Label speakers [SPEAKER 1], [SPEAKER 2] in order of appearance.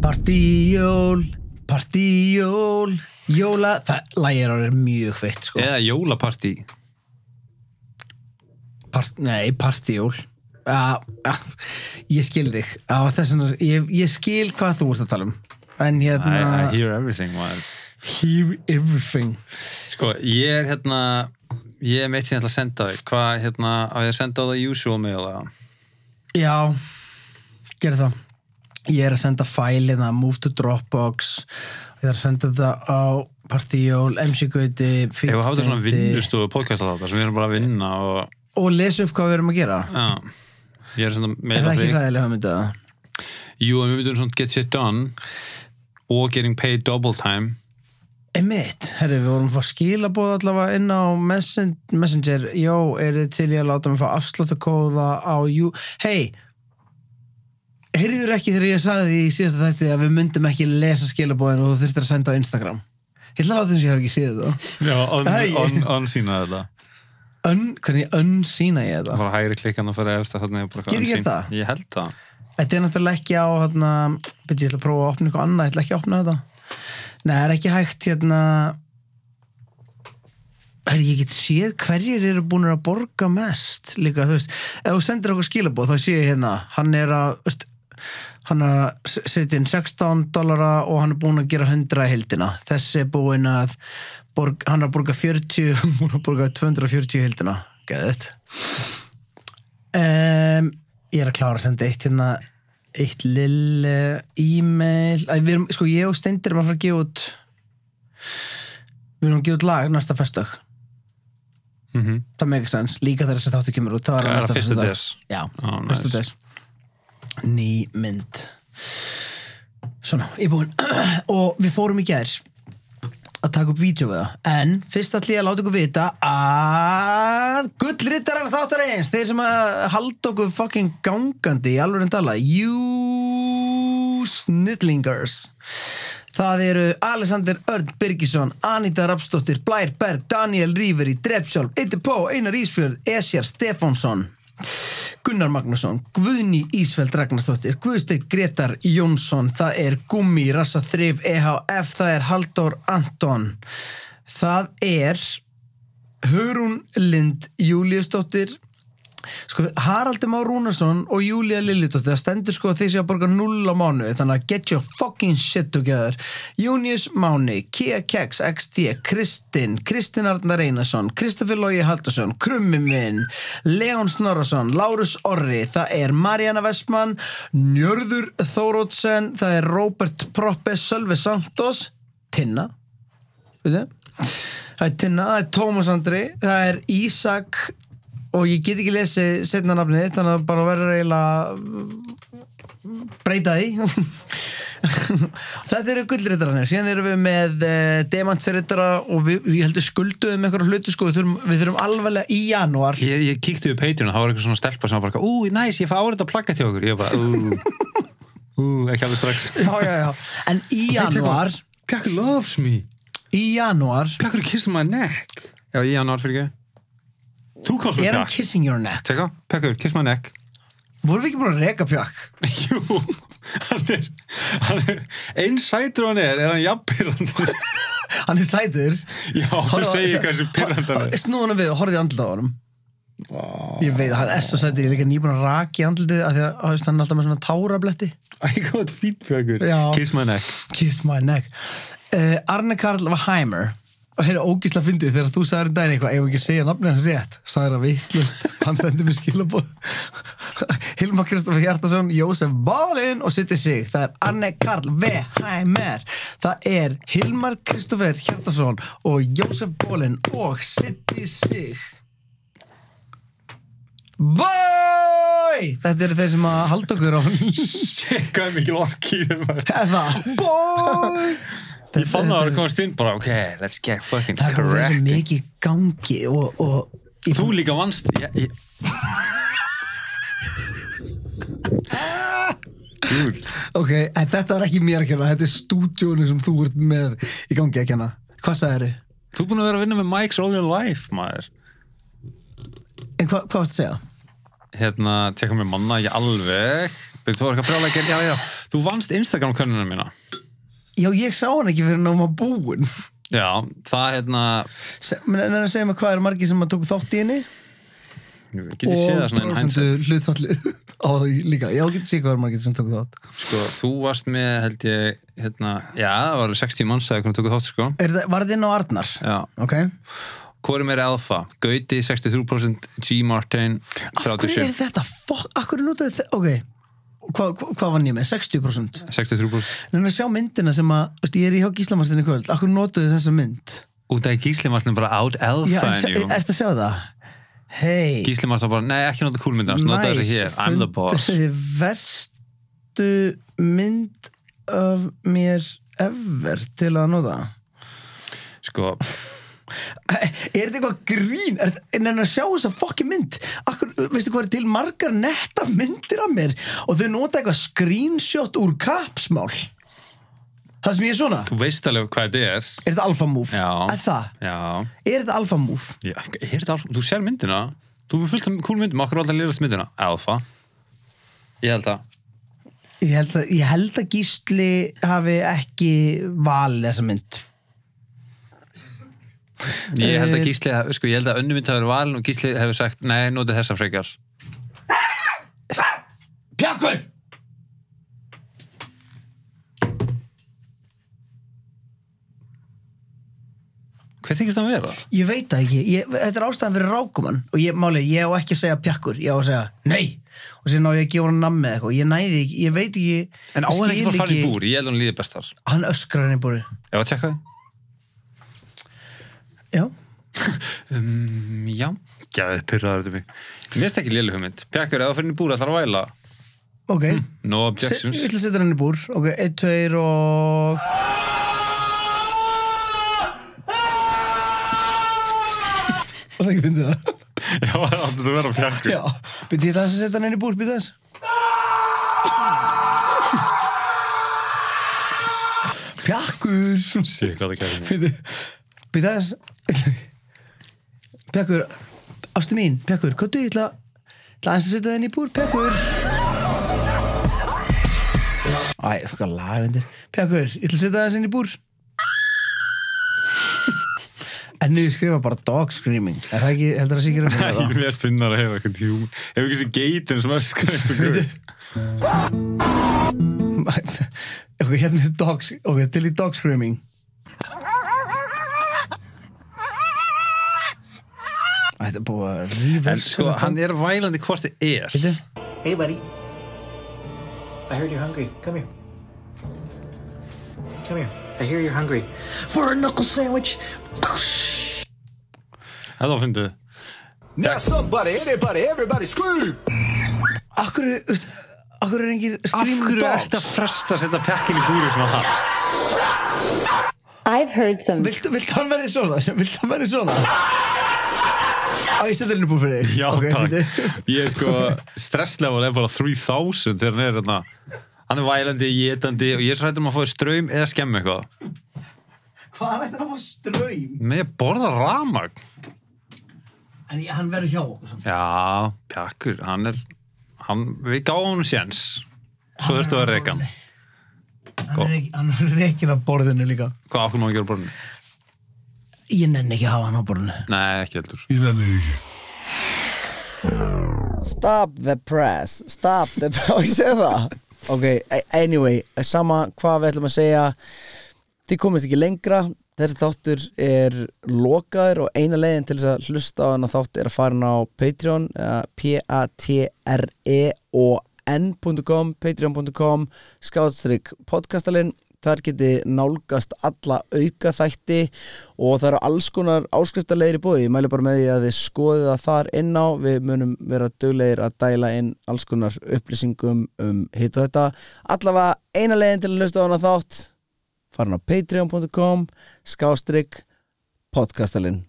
[SPEAKER 1] Partíjól, partíjól, jóla Það lægir árið mjög feitt sko
[SPEAKER 2] Eða jólapartí
[SPEAKER 1] Part, Nei, partíjól ja, ja, Ég skil þig ja, þessna, ég, ég skil hvað þú ert að tala um En hérna
[SPEAKER 2] I, I hear everything man.
[SPEAKER 1] Hear everything
[SPEAKER 2] Sko, ég er hérna Ég er meitt sem ég ætla að senda þig Hvað, hérna, á ég að senda á það usual mail eða?
[SPEAKER 1] Já, gerð það Ég er að senda fælina, move to Dropbox Ég er að senda þetta á partíjól, MC-gauti
[SPEAKER 2] Ef við hafðum svona vinnustofu podcast að þetta sem við erum bara að vinna og,
[SPEAKER 1] Og lesa upp hvað við erum að gera
[SPEAKER 2] já, ég er svona
[SPEAKER 1] Er
[SPEAKER 2] meira
[SPEAKER 1] það
[SPEAKER 2] að
[SPEAKER 1] ekki
[SPEAKER 2] þig
[SPEAKER 1] hræðilega hugmyndu að það?
[SPEAKER 2] Jú, en við myndum svona get shit done og getting paid double time
[SPEAKER 1] Einmitt, herri, við vorum að fá skilabóð allavega inn á messen- Messenger Jó, er þið til ég að láta mig fá afsláttakóða á jú Hei, heyrður ekki þegar ég sagði því í síðasta þætti að við myndum ekki lesa skilabóðin og þú þurftir að senda á Instagram Ég ætla að láta þess að ég hef ekki séð það
[SPEAKER 2] Já, on,
[SPEAKER 1] Æ.
[SPEAKER 2] on, on sína þetta
[SPEAKER 1] Ön, Hvernig önsýna ég þetta?
[SPEAKER 2] bara hægri klikkan og fara eftir þarna og bara
[SPEAKER 1] Getið
[SPEAKER 2] unseen.
[SPEAKER 1] gert það?
[SPEAKER 2] Ég held það
[SPEAKER 1] Þetta er náttúrulega ekki á hérna, byrju, ég ætla að prófa að opna eitthvað annað, ég ætla ekki að opna þetta Nei, það er ekki hægt hérna Herri, ég get séð hverjir eru búin að borga mest líka, þú veist, ef þú sendir okkur skilabóð þá sé ég hérna, hann er að þú veist, hann er að s- setja inn 16 dollara og hann er búin að gera 100 í heldina, þessi er búin að borg, hann er að borga 40 búin að borga 240 í heldina geðið um, Ég er að klára að senda eitt hérna eitt lille e-mail Æ, við erum, sko ég og Steindir erum að fara að gefa út við erum að gefa út lag næsta festdag
[SPEAKER 2] mm -hmm.
[SPEAKER 1] það með ekki sens, líka þegar þessi þáttu kemur út það er á
[SPEAKER 2] Það er
[SPEAKER 1] næsta
[SPEAKER 2] að fyrsta
[SPEAKER 1] föstudag.
[SPEAKER 2] des.
[SPEAKER 1] Já,
[SPEAKER 2] Ó,
[SPEAKER 1] næsta
[SPEAKER 2] nice.
[SPEAKER 1] des Ný mynd Svona, ég er búinn og við fórum í gær að taka upp vídeo við það en fyrst ætlum ég að láta ykkur vita að gullrittarar þáttar eins þeir sem að halda okkur fucking gangandi í alveg en tala you snillingers það eru Alexander Örn Birgisson Anita Rapsdóttir, Blær Berg Daniel Ríferi, Drepsjálf, Eitir Pó Einar Ísfjörð, Esjar Stefánsson Gunnar Magnússon, Guðni Ísfeld Ragnarsdóttir, Guðsteinn Gretar Jónsson, það er Gummi Rassa Þrif EHF, það er Halldór Anton, það er Hörun Lind Júliusdóttir sko, Haraldur Már Rúnarsson og Júlia Lillidóttir, það stendur sko að þeir séu að borga 0 á mánu, þannig að get your fucking shit together Június Máni, Kia Keks, XT Kristinn, Kristinn Arnar Einarsson Kristoffer Lógi Haldursson, Krummi minn Leon Snorrason, Lárus Orri það er Mariana Vestmann Njörður Þórótsen það er Robert Proppe, Sölvi Santos Tinna Veitu? Það er Tinna, það er Tómas Andri, það er Ísak og ég get ekki lesið setna nafnið þannig að bara verður eiginlega að breyta því Þetta eru gullrittaranir síðan erum við með uh, demantsrittara og við, við heldur skulduðum einhverja hluti sko, við þurfum, við þurfum alvarlega í janúar
[SPEAKER 2] Ég, ég kíkti við Patreon og það var eitthvað svona stelpa sem var bara Ú, næs, ég fæ árið að plakka til okkur Ég bara, ú, ú, ekki alveg strax
[SPEAKER 1] Já, já, já, en í janúar
[SPEAKER 2] Pjakk loves me
[SPEAKER 1] í janúar
[SPEAKER 2] Pjakkur kissar my neck Já, í januar fyrir ekki Þú kallst
[SPEAKER 1] er
[SPEAKER 2] mér
[SPEAKER 1] hann
[SPEAKER 2] pjakk
[SPEAKER 1] kissing your neck
[SPEAKER 2] Tjekka, pjakkur, kiss my neck
[SPEAKER 1] vorum við ekki búin að reka pjakk?
[SPEAKER 2] Jú, hann er, hann er Einn sætur og hann er, er hann jafnpirrandi
[SPEAKER 1] hann er sætur
[SPEAKER 2] Já, svo segir ég hversu pirrandi hann er
[SPEAKER 1] Snúðunum við og horfði í andlitið á honum Ég veit að hann er svo sættur Ég er líka nýbúin að raki andlitið af Því að þú veist, hann er alltaf með svona tárabletti
[SPEAKER 2] Æ, gott fýt pjakkur
[SPEAKER 1] Já.
[SPEAKER 2] Kiss my neck
[SPEAKER 1] Kiss my neck uh, Arne Karl Heimer og hérna ógísla fyndið þegar þú sagði daginn eitthvað ef ekki að segja nafnið hans rétt sagði það vittlust, hann sendi mér skilabóð Hilma Kristoffer Hjartason Jósef Bálin og Sitti Sig það er Arne Karl V. Heimer það er Hilmar Kristoffer Hjartason og Jósef Bálin og Sitti Sig Bói! Þetta eru þeir sem að halda okkur á
[SPEAKER 2] Shit, hvað er mikil orki í þeim maður.
[SPEAKER 1] eða Bói!
[SPEAKER 2] Ég fann það að það komast inn bara, ok, let's get fucking
[SPEAKER 1] það er bara verið svo
[SPEAKER 2] correct.
[SPEAKER 1] mikið í gangi og, og ég,
[SPEAKER 2] Þú líka vannst, ég... ég... Dude,
[SPEAKER 1] ok, en þetta er ekki mér að kenna þetta er stúdjónu sem þú ert með í gangi að kenna, hvað sagðið eru?
[SPEAKER 2] þú er búin að vera að vinna með Mike's All Your Life, maður.
[SPEAKER 1] en hva, hvað varst að segja?
[SPEAKER 2] Hérna, tjekka mér manna, ekki alveg. Byggt, þú var eitthvað brjálækir, já, já. Þú vannst Instagram-könnuna mína
[SPEAKER 1] Já, ég sá hann ekki fyrir náma búin
[SPEAKER 2] Já, það hérna
[SPEAKER 1] Menn er að segja mig hvað er margir sem að tóku þátt í henni
[SPEAKER 2] Get ég séð það svona einn hænsum
[SPEAKER 1] prósentu hlutfallið á því líka Já, getur séð hvað er margir sem tóku þátt
[SPEAKER 2] Sko, þú varst með, held ég, hérna Já, það var alveg 60 manns eða hvernig tókuð þátt, sko
[SPEAKER 1] er það, Var það inn á Arnar?
[SPEAKER 2] Já,
[SPEAKER 1] Ok
[SPEAKER 2] hvori meira alfa? Gauti 63%, G. Martin
[SPEAKER 1] Af hverju er
[SPEAKER 2] 37
[SPEAKER 1] þetta? Fuck, af hverju notaðu þetta? Ok, Hva, hva, hvað vann ég með? 60%
[SPEAKER 2] 63%
[SPEAKER 1] Nefnum að sjá myndina sem að, veist, ég er í hjá Gíslamartinni kvöld Af hverju notaðu þessa mynd?
[SPEAKER 2] Út af Gísli Martin bara out
[SPEAKER 1] Já,
[SPEAKER 2] alfa
[SPEAKER 1] en
[SPEAKER 2] en
[SPEAKER 1] sjá-
[SPEAKER 2] you
[SPEAKER 1] ertu að sjá það? Hei
[SPEAKER 2] Gísli Martin bara, nei, ekki nota kúlmynda Nota
[SPEAKER 1] Nice,
[SPEAKER 2] þessi hér, I'm the boss
[SPEAKER 1] funduð verstu mynd af mér ever til að nota
[SPEAKER 2] Sko,
[SPEAKER 1] Er þetta eitthvað grín? Er þetta- En en að sjá þessa fokki mynd Akkur, Veistu hvað er til margar netta myndir af mér og þau nota eitthvað screenshot úr kapsmál Það sem ég er svona
[SPEAKER 2] þú veist alveg hvað þetta er
[SPEAKER 1] Er þetta alfa move?
[SPEAKER 2] Já.
[SPEAKER 1] Er það?
[SPEAKER 2] Já,
[SPEAKER 1] Er þetta alfa move?
[SPEAKER 2] Já, er þetta alfa? Þú sér myndina Þú er fullt af kúl myndum, okkur er alltaf að liðast myndina Alfa Ég held að
[SPEAKER 1] Ég held að, ég held að Gísli hafi ekki valið þessa mynd
[SPEAKER 2] Ég held að
[SPEAKER 1] Eh,
[SPEAKER 2] Gísli, hafi- sko, ég held að önnu mynd hafi verið valin og Gísli hefur sagt, nei, notið þessa frekar
[SPEAKER 1] Pjakkur!
[SPEAKER 2] Hver þykist það að vera?
[SPEAKER 1] Ég veit það ekki, ég, þetta er ástæðan fyrir rákumann og ég, máli, ég á ekki að segja pjakkur ég á að segja nei og sér ná ég að gefa hann nammi eða eitthvað, ég næði ekki, ég veit ekki
[SPEAKER 2] En á hann
[SPEAKER 1] skil
[SPEAKER 2] ekki bara farið í búr, ég held að hann líði bestar
[SPEAKER 1] Hann öskrar hann í búri
[SPEAKER 2] Ég var að tjekka það
[SPEAKER 1] Já,
[SPEAKER 2] um, Já, gæðið pyrraður þetta mig Mér finnst ekki lélu hugmynd Pjakkur, ef það farið í búr, allar að væla
[SPEAKER 1] ok
[SPEAKER 2] Hmm, No
[SPEAKER 1] Se- Ég
[SPEAKER 2] objections
[SPEAKER 1] ætla að setja hann í búr Ok, 1, 2 og Og það ekki fyndið það
[SPEAKER 2] Já, það átti að vera pjakkur
[SPEAKER 1] Já, byrði ég það að setja hann inn í búr, byrði þess Pjakkur
[SPEAKER 2] Sér hvað það kæði
[SPEAKER 1] Byrði þess Pjakkur Ástu mín, Pjakkur, kottu ég ætla ætla aðeins að setja það inn í búr, Pjakkur Æ, hvað lagundir Pjakkur, ég ætla að setja það inn í búr En nú skrifa bara dog screaming Er það ekki, heldur það sé ekki raunverulegt það?
[SPEAKER 2] Mér finnst finnar að hefa eitthvað tjúm Hefur ekki þessi geitin sem öskar eins og guð
[SPEAKER 1] ok, hérna er dogs ok, til í dog screaming Þetta er búið að rífa
[SPEAKER 2] En sko, hann er vælandi hvort þið er
[SPEAKER 1] Bíddu.
[SPEAKER 3] Hey, buddy. I heard you're hungry. Come here. Come here. I hear you're hungry. For a knuckle sandwich.
[SPEAKER 2] Það var fyndið
[SPEAKER 4] Now somebody, anybody, everybody scream!
[SPEAKER 1] Akkur, veist, akkur er engir screaming dogs
[SPEAKER 2] fresta að setja pekkin í búri sem það?
[SPEAKER 5] I've heard some
[SPEAKER 1] Viltu, viltu hann verið svona? Viltu hann verið svona? Á, ég setja henni búið fyrir þig
[SPEAKER 2] Já,
[SPEAKER 1] Ok, bíddu.
[SPEAKER 2] takk Ég er sko, stresslevel er bara 3000 þegar hann er hérna Hann er vælandi, étandi og ég er svo hættur um að fá þér ströym eða skemmi eitthvað
[SPEAKER 1] Hvað er þetta að fá ströym?
[SPEAKER 2] Nei, ég borða ramag
[SPEAKER 1] En ég, hann verður hjá okkur svona
[SPEAKER 2] Já, pjakkur, hann er hann, Við gáum hann séns Svo þurftu að reyka hann
[SPEAKER 1] Hann er ekki- Hann er reikin af borðinu líka
[SPEAKER 2] Hvað okkur má hann gera á borðinu?
[SPEAKER 1] Ég nenni ekki að hafa hann á borðinu
[SPEAKER 2] Nei, ekki heldur
[SPEAKER 3] Stop the press. Stop the press. Ég segi það. Ok, a- anyway, sama hvað við ætlum að segja. Þið komist ekki lengra. Þessi þáttur er lokaður og eina leiðin til þess að hlusta á hann að þátt er að fara hann á Patreon, eh, E p-a-t-r-e-o-n.com, patreon.com, skáðstrykk podcastalinn. Þar geti nálgast alla auka þætti og það eru alls konar áskriftarlegir í bóði. Ég mæli bara með því að þið skoðið það þar inn á. Við munum vera duglegir að dæla inn alls konar upplýsingum um hitt og þetta. Allavega eina leiðin til að hlusta á hann að þátt farin á patreon.com skástrygg podcastalinn